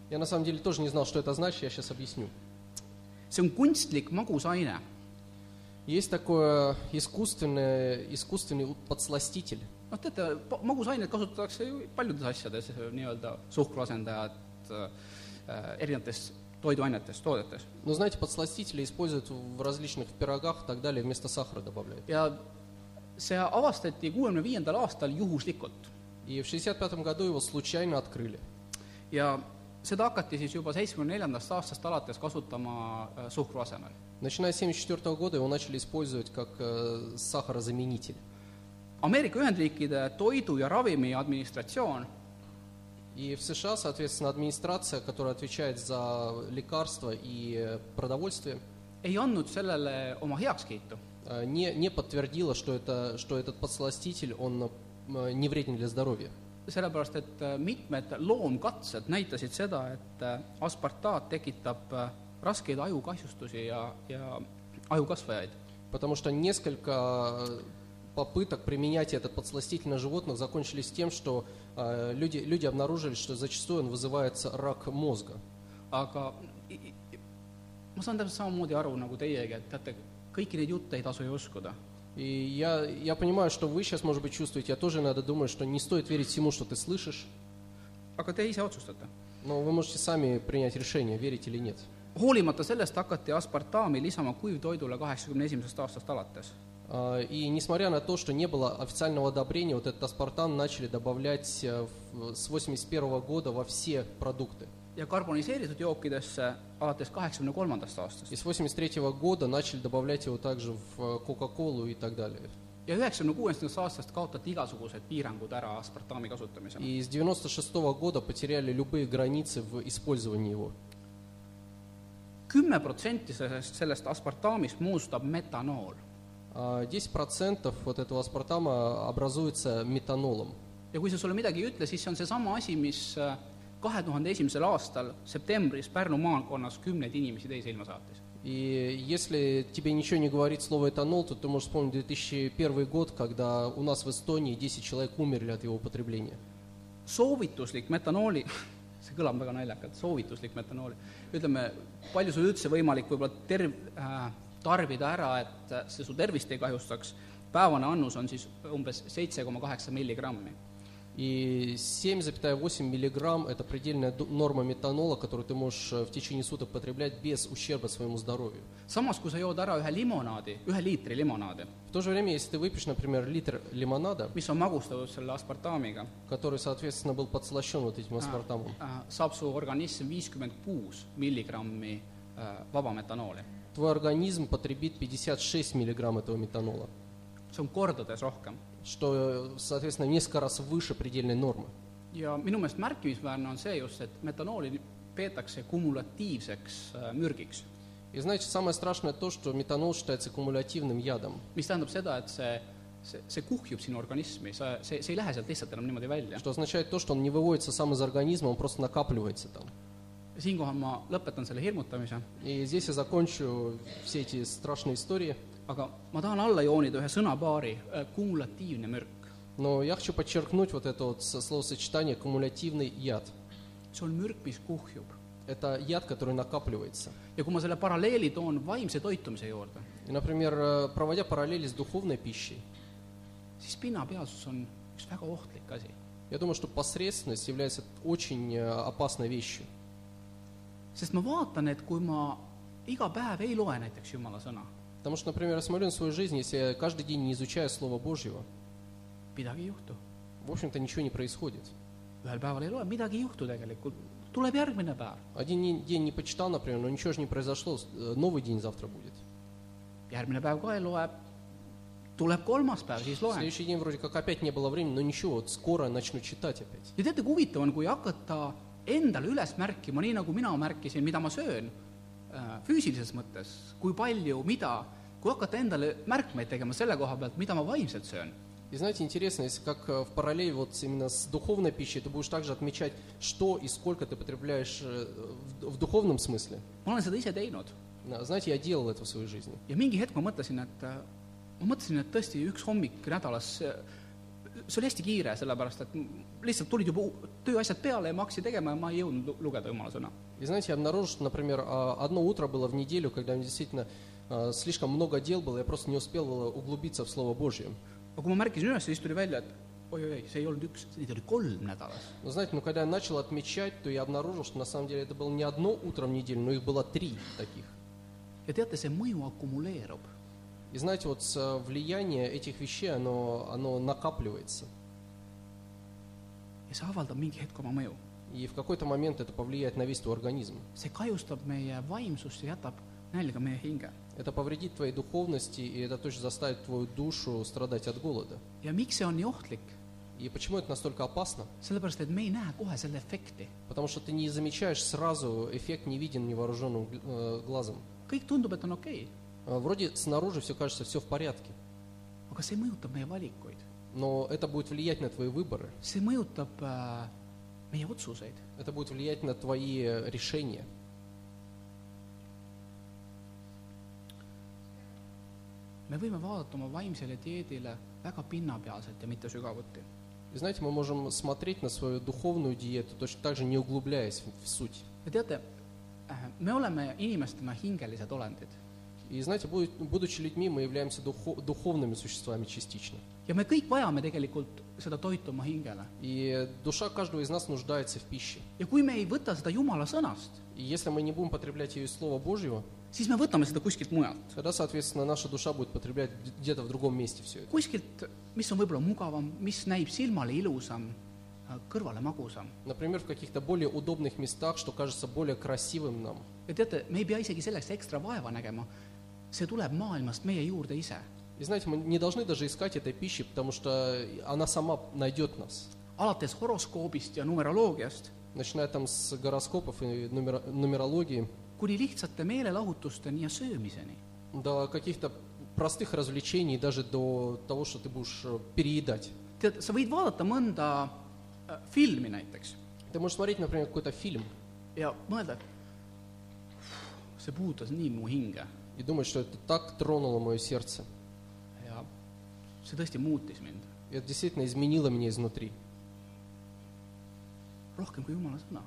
B: Я на самом деле тоже не знал, что это значит, я сейчас объясню.
A: see on kunstlik magusaine ,
B: Есть такое искусственное, искусственный у- подсластитель.
A: noh , teate , magusaineid kasutatakse ju paljudes asjades , nii-öelda suhkruasendajad äh, erinevates toiduainetes , toodetes .
B: Но Ну, знаете, подсластители используют в различных пирогах и так далее, вместо сахара добавляют.
A: ja see avastati kuuekümne viiendal aastal juhuslikult
B: И в 65 году его случайно открыли.
A: ja seda hakati siis juba seitsmekümne neljandast aastast alates kasutama äh, suhkru asemel .
B: Начиная с 1974 года его начали использовать как э, сахарозаменитель.
A: Ameerika Ühendriikide Toidu- ja Ravimiadministratsioon
B: И в США, соответственно, администрация, которая отвечает за лекарства и э, продовольствие,
A: ei andnud sellele oma heakskiitu .
B: э, не, не подтвердила, что, это, что этот подсластитель, он э, не вреден для здоровья.
A: sellepärast , et äh, mitmed loomkatsed näitasid seda , et äh, aspartaat tekitab äh, raskeid ajukahjustusi ja , ja ajukasvajaid .
B: Потому что несколько э, попыток применять этот подсластитель на животных закончились тем, что э, люди, люди обнаружили, что зачастую он вызывает рак мозга.
A: aga i- i- ma saan täpselt samamoodi aru nagu teiegi , et teate , kõiki neid jutte ei tasu ju uskuda .
B: И я, я понимаю, что вы сейчас, может быть, чувствуете, я тоже иногда думаю, что не стоит верить всему, что ты слышишь,
A: aga te ise otsustate .
B: но вы можете сами принять решение, верить или нет.
A: hoolimata sellest hakati aspartaami lisama kuivtoidule kaheksakümne esimesest aastast alates .
B: А, И несмотря на то, что не было официального одобрения, вот этот аспартан начали добавлять э, в- с 81 года во все продукты.
A: ja karboniseeritud jookidesse alates kaheksakümne kolmandast aastast
B: И с 83 года начали добавлять его также в э, Кока-Колу и так далее.
A: ja üheksakümne kuuendast aastast kaotati igasugused piirangud ära aspartaami kasutamisel .
B: И с 96 года потеряли любые границы в использовании его.
A: kümme protsenti sellest , sellest aspartaamist moodustab metanool
B: А 10% вот этого аспартама образуется метанолом.
A: ja kui see sulle midagi ei ütle , siis see on seesama asi , mis äh, kahe tuhande esimesel aastal septembris Pärnu maakonnas kümneid inimesi teise ilma saatis .
B: И если тебе ничего не говорит слово этанол, то ты можешь вспомнить 2001 год, когда у нас в Эстонии 10 человек умерли от его употребления.
A: soovituslik metanooli , see kõlab väga naljakalt , soovituslik metanooli , ütleme , palju sul üldse võimalik võib-olla terv- äh, , tarbida ära , et äh, see su tervist ei kahjustaks , päevane annus on siis umbes seitse koma kaheksa milligrammi .
B: И 7,8 миллиграмм – это предельная ду- норма метанола, которую ты можешь э, в течение суток потреблять без ущерба своему здоровью.
A: samas , kui sa jood ära ühe limonaadi , ühe liitri limonaadi ,
B: В то же время, если ты выпьешь, например, литр лимонада,
A: mis on magustatud selle aspartaamiga ,
B: который, соответственно, был подслащен вот этим аспартамом,
A: saab su organism viiskümmend kuus milligrammi äh, vaba metanooli .
B: твой организм потребит 56 миллиграмм этого метанола,
A: see on kordades rohkem .
B: что, э, соответственно, в несколько раз выше предельной нормы.
A: ja minu meelest märkimisväärne on see just , et metanooli peetakse kumulatiivseks äh, mürgiks ,
B: И знаете, самое страшное то, что метанол считается кумулятивным ядом,
A: mis tähendab seda , et see , see , see kuhjub sinu organismi , sa , see , see ei lähe sealt lihtsalt enam niimoodi välja .
B: что означает то, что он не выводится сам из организма, он просто накапливается там.
A: siinkohal ma lõpetan selle hirmutamise ,
B: И здесь я закончу все эти страшные истории,
A: aga ma tahan alla joonida ühe sõnapaari , kumulatiivne mürk .
B: но я хочу подчеркнуть вот это вот со- словосочетание «кумулятивный яд».
A: see on mürk , mis kuhjub .
B: Это яд, который накапливается.
A: ja kui ma selle paralleeli toon vaimse toitumise juurde ,
B: И, например, э, проводя параллели с духовной пищей,
A: siis pinnapealsus on üks väga ohtlik asi .
B: я думаю, что посредственность является очень э, опасной вещью.
A: sest ma vaatan , et kui ma iga päev ei loe näiteks Jumala sõna ,
B: Потому что, например, я смотрю на свою жизнь, если я каждый день не изучаю Слово Божьего,
A: midagi ei juhtu .
B: в общем-то nичего не происходит.
A: ühel päeval ei loe , midagi ei juhtu tegelikult , tuleb järgmine päev ,
B: Один не- день не почитал, например, но ничего же не произошло, с- э, новый день завтра будет.
A: järgmine päev ka ei loe , tuleb kolmas päev , siis
B: В
A: loen .
B: следующий день вроде как опять не было времени, но ничего, вот скоро я начну читать опять.
A: ja teate , kui huvitav on , kui hakata endale üles märkima , nii nagu mina märkisin , mida ma söön äh, füüsilises mõttes , kui palju , mida , kui hakata endale märkmeid tegema selle koha pealt , mida ma vaimselt söön
B: И знаете, интересно, если как э, в параллель вот с- именно с духовной пищей, ты будешь также отмечать, что и сколько ты потребляешь э, в, в духовном смысле.
A: ma olen seda ise teinud
B: Да, Знаете, я делал это в своей жизни.
A: ja mingi hetk ma mõtlesin , et äh, ma mõtlesin , et tõesti üks hommik nädalas , see oli hästi kiire , sellepärast et m- lihtsalt tulid juba u- tööasjad peale ja ma hakkasin tegema ja ma ei jõudnud lu- lugeda jumala sõna .
B: И знаете, я обнаружил, что, например, а, одно утро было в неделю, когда мне действительно а, слишком много дел было, я просто не успел э, углубиться в Слово Божье.
A: aga kui ma märkisin üles , siis tuli välja , et oi-oi-oi , see ei olnud üks , neid oli kolm nädalas .
B: Но знаете, ну когда я начал отмечать, то я обнаружил, что на самом деле это было не одно утро в неделю, но их было три таких.
A: ja teate , see mõju akumuleerub .
B: И знаете, вот с, э, влияние этих вещей, оно, оно накапливается.
A: ja see avaldab mingi hetk oma mõju .
B: И в какой-то момент это повлияет на весь твой организм.
A: see kahjustab meie vaimsust ja jätab nälga meie hinge .
B: Это повредит твоей духовности, и это точно заставит твою душу страдать от голода.
A: ja miks see on nii ohtlik ?
B: И почему это настолько опасно?
A: sellepärast , et me ei näe kohe selle efekti .
B: Потому что ты не замечаешь сразу, эффект не виден невооруженным гл- э, глазом.
A: kõik tundub , et on okei okay, ,
B: Э, Вроде снаружи все кажется все в порядке,
A: aga see mõjutab meie valikuid ,
B: но это будет влиять на твои выборы,
A: see mõjutab äh, meie otsuseid .
B: это будет влиять на твои э, решения.
A: me võime vaadata oma vaimsele dieedile väga pinnapealselt ja mitte sügavuti .
B: И знаете, мы можем смотреть на свою духовную диету, точно так же не углубляясь в- в суть.
A: ja teate , me oleme inimestena hingelised olendid
B: И знаете, буд- будучи людьми, мы являемся духо- духовными существами частично.
A: ja me kõik vajame tegelikult seda toitu oma hingele .
B: И душа каждого из нас нуждается в пище.
A: ja kui me ei võta seda Jumala sõnast ,
B: И если мы не будем потреблять ее из Слова Божьего,
A: siis me võtame seda kuskilt mujalt .
B: тогда, соответственно, наша душа будет потреблять г- где-то в другом месте все это.
A: kuskilt , mis on võib-olla mugavam , mis näib silmale ilusam , kõrvale magusam .
B: Например, в каких-то более удобных местах, что кажется более красивым нам.
A: ja teate , me ei pea isegi selleks ekstra vaeva nägema , see tuleb maailmast meie juurde ise .
B: И знаете, мы не должны даже искать этой пищи, потому что она сама найдет нас.
A: alates horoskoobist ja numeroloogiast
B: Начиная там с гороскопов и нумер- нумерологии,
A: kuni lihtsate meelelahutusteni ja söömiseni .
B: до каких-то простых развлечений, даже до того, что ты будешь э, переедать.
A: tead , sa võid vaadata mõnda äh, filmi näiteks
B: Ты можешь смотреть, например, какой-то фильм
A: ja mõelda , et see puudutas nii mu hinge
B: и думать, что это так тронуло мое сердце.
A: ja see tõesti muutis mind
B: И это действительно изменило меня изнутри.
A: rohkem kui Jumala sõna .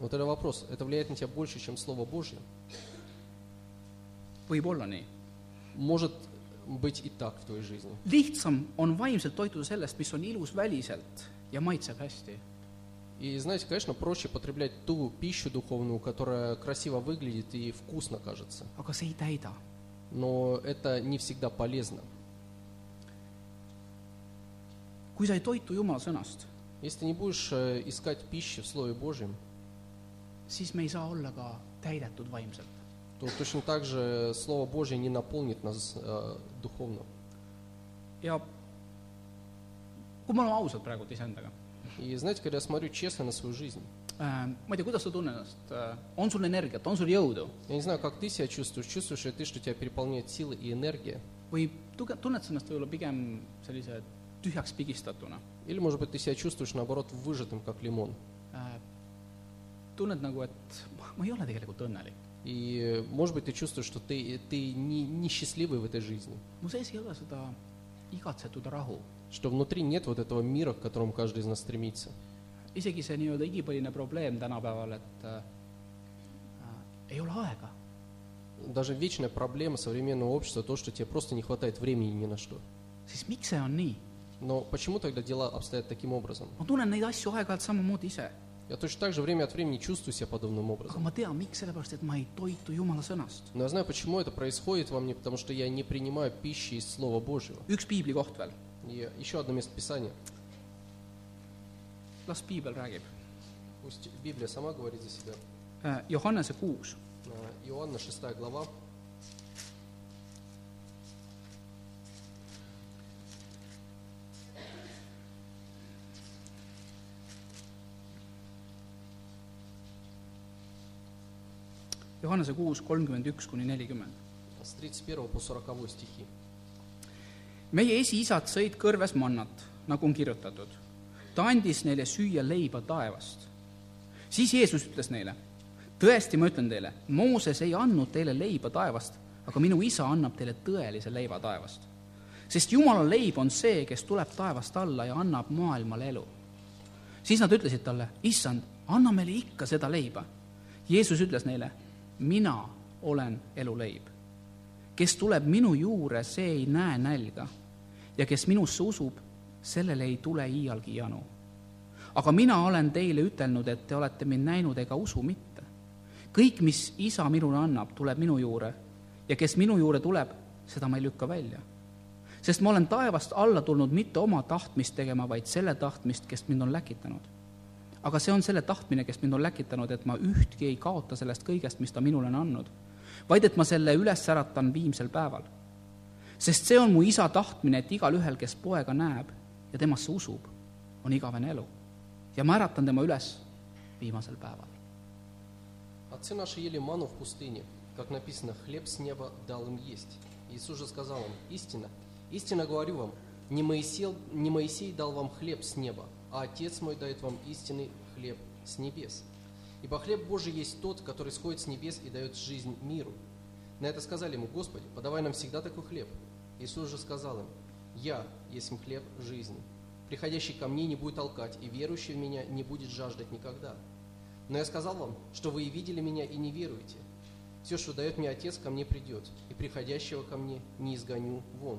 B: Вот это вопрос. Это влияет на тебя больше, чем Слово Божье?
A: võib-olla nii .
B: Может быть и так в твоей жизни.
A: lihtsam on vaimselt toituda sellest , mis on ilus väliselt ja maitseb hästi ,
B: И знаете, конечно, проще потреблять ту пищу духовную, которая красиво выглядит и вкусно кажется.
A: aga see ei täida .
B: Но это не всегда полезно.
A: kui sa ei toitu Jumala sõnast ,
B: Если ты не будешь э, искать пищи в Слове Божьем,
A: siis me ei saa olla ka täidetud vaimselt .
B: то точно так же Слово Божье не наполнит нас э, духовно.
A: ja kui me oleme ausad praegu iseendaga ,
B: И знаете, когда я смотрю честно на свою жизнь,
A: ma ei tea , kuidas sa tunned ennast , on sul energiat , on sul jõudu
B: я не знаю, как ты себя чувствуешь, чувствуешь ли ты, что тебя переполняет силы и энергия,
A: või tuge- , tunned sa ennast võib-olla pigem sellise tühjaks pigistatuna ?
B: или, может быть, ты себя чувствуешь, наоборот, выжатым, как лимон,
A: Äh, tunned nagu , et ma- ma ei ole tegelikult õnnelik ,
B: и, э, может быть, ты чувствуешь, что ты, ты не, несчастливый в этой жизни,
A: mu sees ei ole seda igatsetud rahu .
B: что внутри нет вот этого мира, к которому каждый из нас стремится.
A: isegi see nii-öelda igipõline probleem tänapäeval , et äh, äh, ei ole aega .
B: Даже вечная проблема современного общества то, что тебе просто не хватает времени ни на что.
A: siis miks see on nii ?
B: Но почему тогда дела обстоят таким образом?
A: ma tunnen neid asju aeg-ajalt samamoodi ise ,
B: Я точно так же время от времени чувствую себя подобным образом.
A: aga ma tean , miks , sellepärast et ma ei toitu Jumala sõnast .
B: Но я знаю, почему это происходит во мне, потому что я не принимаю пищи из Слова Божьего.
A: üks piiblikoht veel ,
B: И еще одно место Писания.
A: las piibel räägib .
B: Пусть Библия сама говорит за себя.
A: Johannese kuus ,
B: Э, Иоанна 6 глава.
A: Johannese kuus kolmkümmend üks kuni nelikümmend .
B: С 31 по 40 стихи.
A: meie esiisad sõid kõrves mannat , nagu on kirjutatud . ta andis neile süüa leiba taevast . siis Jeesus ütles neile , tõesti , ma ütlen teile , Mooses ei andnud teile leiba taevast , aga minu isa annab teile tõelise leiva taevast . sest Jumala leib on see , kes tuleb taevast alla ja annab maailmale elu . siis nad ütlesid talle , issand , anna meile ikka seda leiba . Jeesus ütles neile , mina olen eluleib kes tuleb minu juurde , see ei näe nälga ja kes minusse usub , sellele ei tule iialgi janu . aga mina olen teile ütelnud , et te olete mind näinud ega usu mitte . kõik , mis isa minule annab , tuleb minu juurde ja kes minu juurde tuleb , seda ma ei lükka välja . sest ma olen taevast alla tulnud mitte oma tahtmist tegema , vaid selle tahtmist , kes mind on läkitanud . aga see on selle tahtmine, kes mind on läkitanud, et ma ühtki ei kaota sellest kõigest, mis ta minule on andnud, vaid et ma selle üles äratan viimsel päeval. sest see on mu isa tahtmine, et igalühel, kes poega näeb ja temasse usub, on igavene elu. ja ma äratan tema üles viimasel päeval.
B: Отцы наши ели ману в пустыне, как написано, хлеб с неба дал им есть. Иисус же сказал им, истина, истинно говорю вам, не Моисей, не Моисей дал вам хлеб с неба, а Отец мой дает вам истинный хлеб с небес. Ибо хлеб Божий есть тот, который сходит с небес и дает жизнь миру. На это сказали ему, Господи, подавай нам всегда такой хлеб. Иисус же сказал им, Я есть им хлеб жизни. Приходящий ко мне не будет толкать, и верующий в меня не будет жаждать никогда. Но я сказал вам, что вы и видели меня, и не веруете. Все, что дает мне Отец, ко мне придет, и приходящего ко мне не изгоню вон.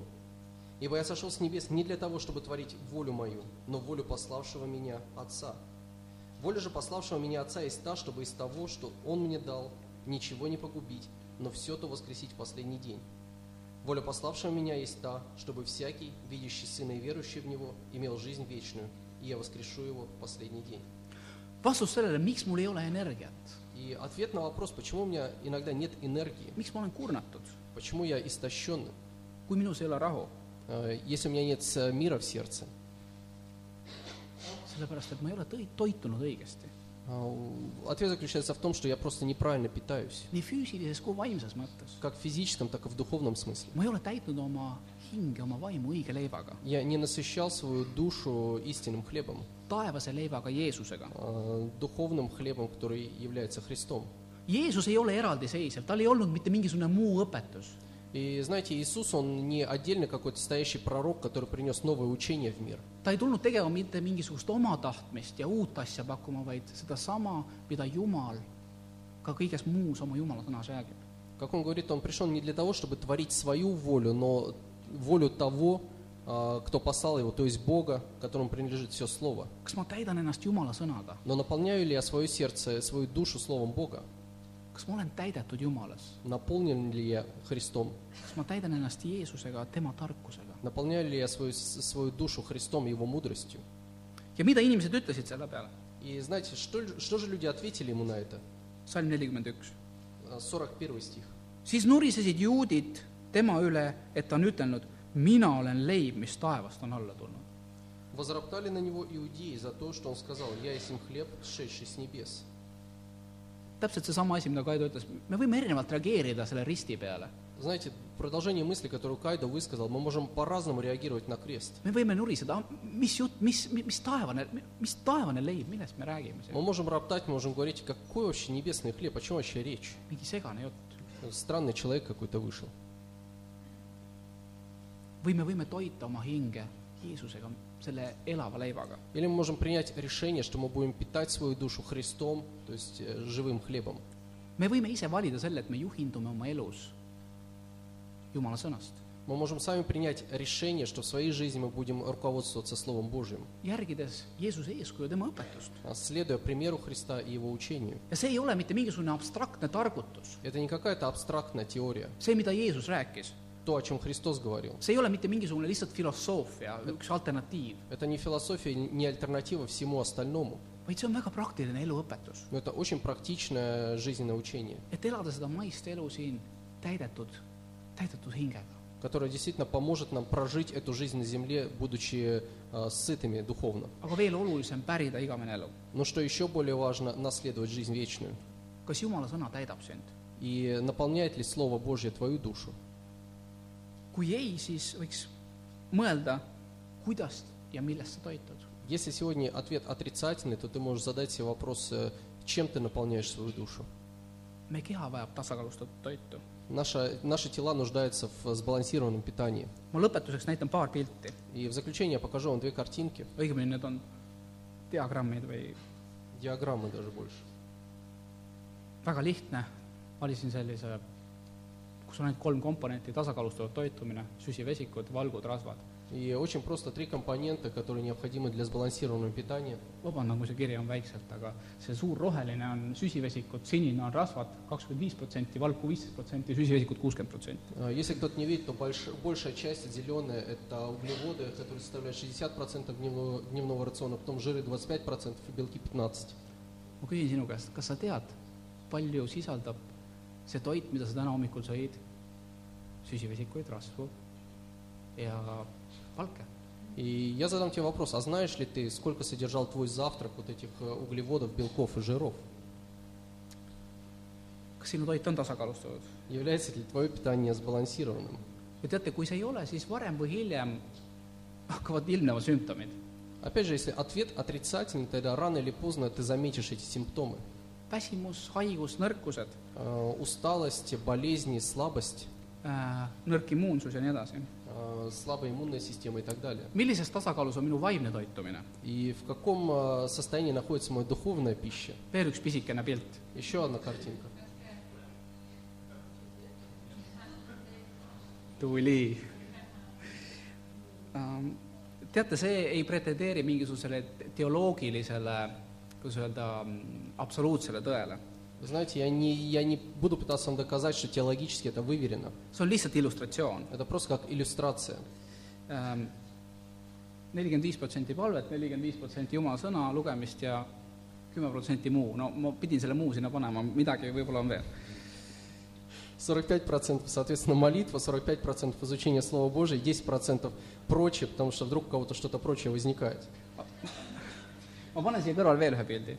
B: Ибо я сошел с небес не для того, чтобы творить волю мою, но волю пославшего меня Отца. Воля же пославшего меня Отца есть та, чтобы из того, что Он мне дал, ничего не погубить, но все то воскресить в последний день. Воля пославшего меня есть та, чтобы всякий, видящий Сына и верующий в Него, имел жизнь вечную, и я воскрешу его в последний день.
A: vastus sellele , miks mul ei ole energiat ,
B: И ответ на вопрос, почему у меня иногда нет энергии,
A: miks ma olen kurnatud ,
B: почему я истощен,
A: kui minus ei ole rahu ,
B: э, если у меня нет э, мира в сердце,
A: sellepärast et ma ei ole tõi- , toitunud õigesti .
B: А, у- ответ заключается в том, что я просто неправильно питаюсь,
A: nii füüsilises kui vaimses mõttes .
B: как в физическом, так и в духовном смысле.
A: ma ei ole täitnud oma hinge , oma vaimu õige leivaga ,
B: Я не насыщал свою душу истинным хлебом,
A: taevase leivaga , Jeesusega .
B: э, духовным хлебом, который является Христом.
A: Jeesus ei ole eraldiseisev , tal ei olnud mitte mingisugune muu õpetus .
B: И знаете, Иисус, он не отдельно какой-то стоящий пророк, который принес новое учение в мир.
A: ta ei tulnud tegema mitte mingisugust oma tahtmist ja uut asja pakkuma , vaid sedasama , mida Jumal ka kõiges muus oma Jumala sõnas räägib .
B: Как он говорит, он пришел не для того, чтобы творить свою волю, но волю того, а, кто послал его, то есть Бога, которому принадлежит все Слово.
A: kas ma täidan ennast Jumala sõnaga ,
B: Но наполняю ли я свое сердце, свою душу Словом Бога?
A: kas ma olen täidetud Jumalas ,
B: Наполнен ли я Христом?
A: kas ma täidan ennast Jeesusega , tema tarkusega
B: Наполняю ли я свою, с- свою душу Христом, Его мудростью?
A: ja mida inimesed ütlesid selle peale ?
B: И знаете, что, лю- что же люди ответили ему на это?
A: salm nelikümmend üks .
B: А, 41 стих.
A: siis nurisesid juudid tema üle , et ta on ütelnud , mina olen leib , mis taevast on alla tulnud .
B: Возроптали на него иудеи за то, что он сказал, «Я есть им хлеб, сшедший с небес».
A: täpselt seesama asi , mida Kaido ütles , me võime erinevalt reageerida selle risti peale .
B: Знаете, продолжение мысли, которую Кайдо высказал, мы можем по-разному реагировать на крест.
A: me võime nuriseda , mis jutt , mis , mis taevane , mis taevane leib , millest me räägime
B: Мы
A: siin ,
B: можем роптать, мы можем говорить, какой вообще небесный хлеб, о чем вообще речь?
A: mingi segane jutt .
B: Странный человек какой-то вышел.
A: või me võime toita oma hinge Jeesusega , selle elava leivaga .
B: Или мы можем принять решение, что мы будем питать свою душу Христом, то есть э, живым хлебом.
A: me võime ise valida selle , et me juhindume oma elus Jumala sõnast ,
B: Мы можем сами принять решение, что в своей жизни мы будем руководствоваться Словом Божьим,
A: järgides Jeesuse eeskuju , tema õpetust .
B: а следуя примеру Христа и Его учению.
A: ja see ei ole mitte mingisugune abstraktne targutus ,
B: Это не какая-то абстрактная теория,
A: see , mida Jeesus rääkis ,
B: то, о чем Христос говорил.
A: see ei ole mitte mingisugune lihtsalt filosoofia , üks alternatiiv ,
B: Это не философия, не альтернатива всему остальному,
A: vaid see on väga praktiline eluõpetus ,
B: но это очень практичное жизненное учение,
A: et elada seda maist elu siin täidetud , täidetud hingega .
B: которое действительно поможет нам прожить эту жизнь на земле, будучи э, сытыми духовно.
A: aga veel olulisem , pärida igavene elu .
B: Но что еще более важно, наследовать жизнь вечную.
A: kas Jumala sõna täidab sind ?
B: И наполняет ли Слово Божье твою душу?
A: kui ei , siis võiks mõelda , kuidas ja millest sa toitud .
B: Если сегодня ответ отрицательный, то ты можешь задать себе вопрос, э, чем ты наполняешь свою душу.
A: meie keha vajab tasakaalustatud toitu .
B: Наша, наши тела нуждаются в сбалансированном питании.
A: ma lõpetuseks näitan paar pilti ,
B: И в заключение я покажу вам две картинки,
A: õigemini need on diagrammid või
B: диаграммы даже больше.
A: väga lihtne , valisin sellise , kus on ainult kolm komponenti , tasakaalustatud toitumine , süsivesikud , valgud , rasvad .
B: И очень просто три компонента, которые необходимы для сбалансированного питания.
A: vabandan , kui see kiri on väikselt , aga see suur roheline on süsivesikud , sinine on rasvad , kakskümmend viis protsenti , valku viisteist protsenti , süsivesikud kuuskümmend protsenti .
B: А, Если кто-то не видит, то больш- большая часть зеленая – это углеводы, которые составляют 60% дневного, дневного рациона, потом жиры 25% и белки 15%.
A: ma küsin sinu käest , kas sa tead , palju sisaldab see toit , mida sa täna hommikul sõid , süsivesikuid , rasvu ja valke ?
B: И я задам тебе вопрос, а знаешь ли ты, сколько содержал твой завтрак вот этих э, углеводов, белков и жиров?
A: kas sinu toit on tasakaalustatud ?
B: Является ли твое питание сбалансированным?
A: ja teate , kui see ei ole , siis varem või hiljem hakkavad ilmnema sümptomid .
B: Опять же, если ответ отрицательный, тогда рано или поздно ты заметишь эти симптомы.
A: väsimus , haigus , nõrkused ,
B: Э, Усталость, болезни, слабость,
A: äh, nõrk immuunsus ja nii edasi .
B: э, слабая иммунная система и так далее.
A: millises tasakaalus on minu vaimne toitumine ?
B: И в каком э, состоянии находится моя духовная пища?
A: veel üks pisikene pilt .
B: Еще одна картинка.
A: tuli . teate , see ei pretendeeri mingisugusele teoloogilisele , kuidas öelda , absoluutsele tõele .
B: Вы знаете, я не, я не буду пытаться вам доказать, что теологически это выверено.
A: see on lihtsalt illustratsioon .
B: Это просто как иллюстрация.
A: nelikümmend viis protsenti palvet , nelikümmend viis protsenti Jumala sõna lugemist ja kümme protsenti muu . no ma pidin selle muu sinna panema , midagi võib-olla on veel .
B: 45% соответственно молитва, 45% изучение Слова Божия, 10% прочее, потому что вдруг у кого-то что-то прочее возникает.
A: ma panen siia kõrvale veel ühe pildi .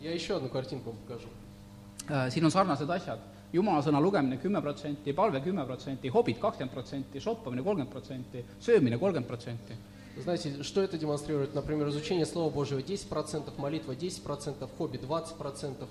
B: Я еще одну картинку вам покажу.
A: Äh, siin on sarnased asjad . Jumala sõna lugemine kümme protsenti , palve kümme protsenti , hobid kakskümmend protsenti , shoppamine kolmkümmend protsenti , söömine kolmkümmend protsenti
B: Вы знаете, что это демонстрирует? Например, изучение Слова Божьего 10%, молитва 10%, хобби 20%,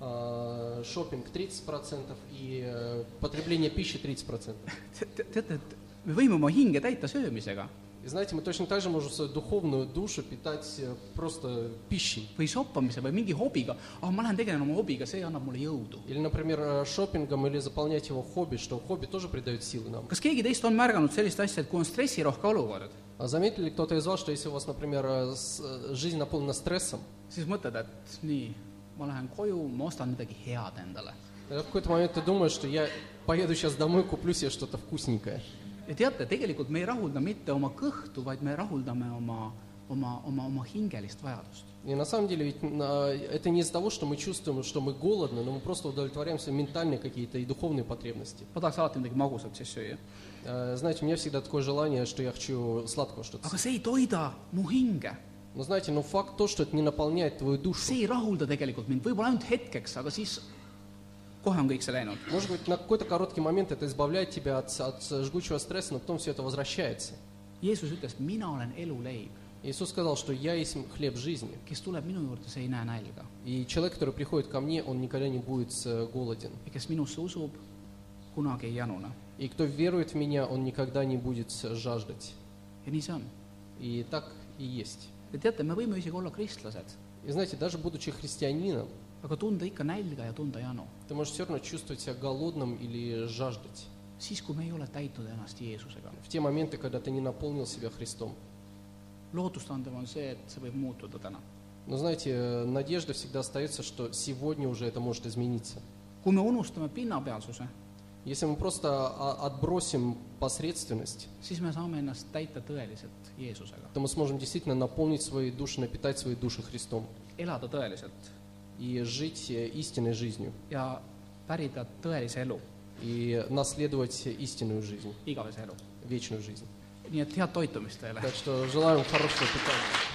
B: э, шопинг 30% и э, потребление пищи 30%.
A: Te- te- teate , et me võime oma hinge täita söömisega
B: И знаете, мы точно так же можем свою духовную душу питать э, просто пищей.
A: või soppamise või mingi hobiga , ah ma lähen tegelen oma hobiga , see annab mulle jõudu .
B: Или, например, э, шопингом или заполнять его хобби, что хобби тоже придает силы нам.
A: kas keegi teist on märganud sellist asja , et kui on stressirohke olukord ,
B: А заметили ли кто-то из вас, что если у вас, например, э, с- э, жизнь наполнена стрессом,
A: siis mõtled , et nii , ma lähen koju , ma ostan midagi head endale .
B: тогда в какой-то момент ты думаешь, что я поеду сейчас домой, куплю себе что-то вкусненькое.
A: ja teate , tegelikult me ei rahulda mitte oma kõhtu , vaid me rahuldame oma , oma , oma , oma hingelist vajadust .
B: И на самом деле ведь на- это не из-за того, что мы чувствуем, что мы голодны, но мы просто удовлетворяем свои ментальные какие-то и духовные потребности.
A: ma tahaks alati midagi magusat siis süüa ,
B: Э, Знаете, у меня всегда такое желание, что я хочу сладкого что-то.
A: aga see ei toida mu hinge .
B: Но знаете, но факт то, что это не наполняет твою душу.
A: see ei rahulda tegelikult mind , võib-olla ainult hetkeks , aga siis kohe on kõik see läinud .
B: Может быть, на какой-то короткий момент это избавляет тебя от, от жгучего стресса, но потом все это возвращается.
A: Jeesus ütles , mina olen eluleib ,
B: Иисус сказал, что я есть хлеб жизни.
A: kes tuleb minu juurde , see ei näe nälga
B: И человек, который приходит ко мне, он никогда не будет э, голоден.
A: ja kes minusse usub , kunagi ei janune .
B: И кто верует в меня, он никогда не будет э, жаждать.
A: ja nii see on .
B: И так и есть.
A: Te teate , me võime isegi olla kristlased ,
B: И знаете, даже будучи христианином,
A: aga tunda ikka nälga ja tunda janu ,
B: ты можешь все равно чувствовать себя голодным или жаждать.
A: siis kui me ei ole täitnud ennast Jeesusega .
B: В те моменты, когда ты не наполнил себя Христом.
A: lootustandev on see , et see võib muutuda täna .
B: Но знаете, э, надежда всегда остается, что сегодня уже это может измениться.
A: kui me unustame pinnapealsuse ,
B: Если мы просто а, отбросим посредственность,
A: siis me saame ennast täita tõeliselt Jeesusega ,
B: то мы сможем действительно наполнить свои души, напитать свои души Христом
A: elada tõeliselt
B: и жить э, истинной жизнью
A: ja pärida tõelise elu ,
B: и наследовать истинную жизнь,
A: igavese elu .
B: вечную жизнь.
A: nii et head toitumist teile .
B: Так что желаем хорошего питания.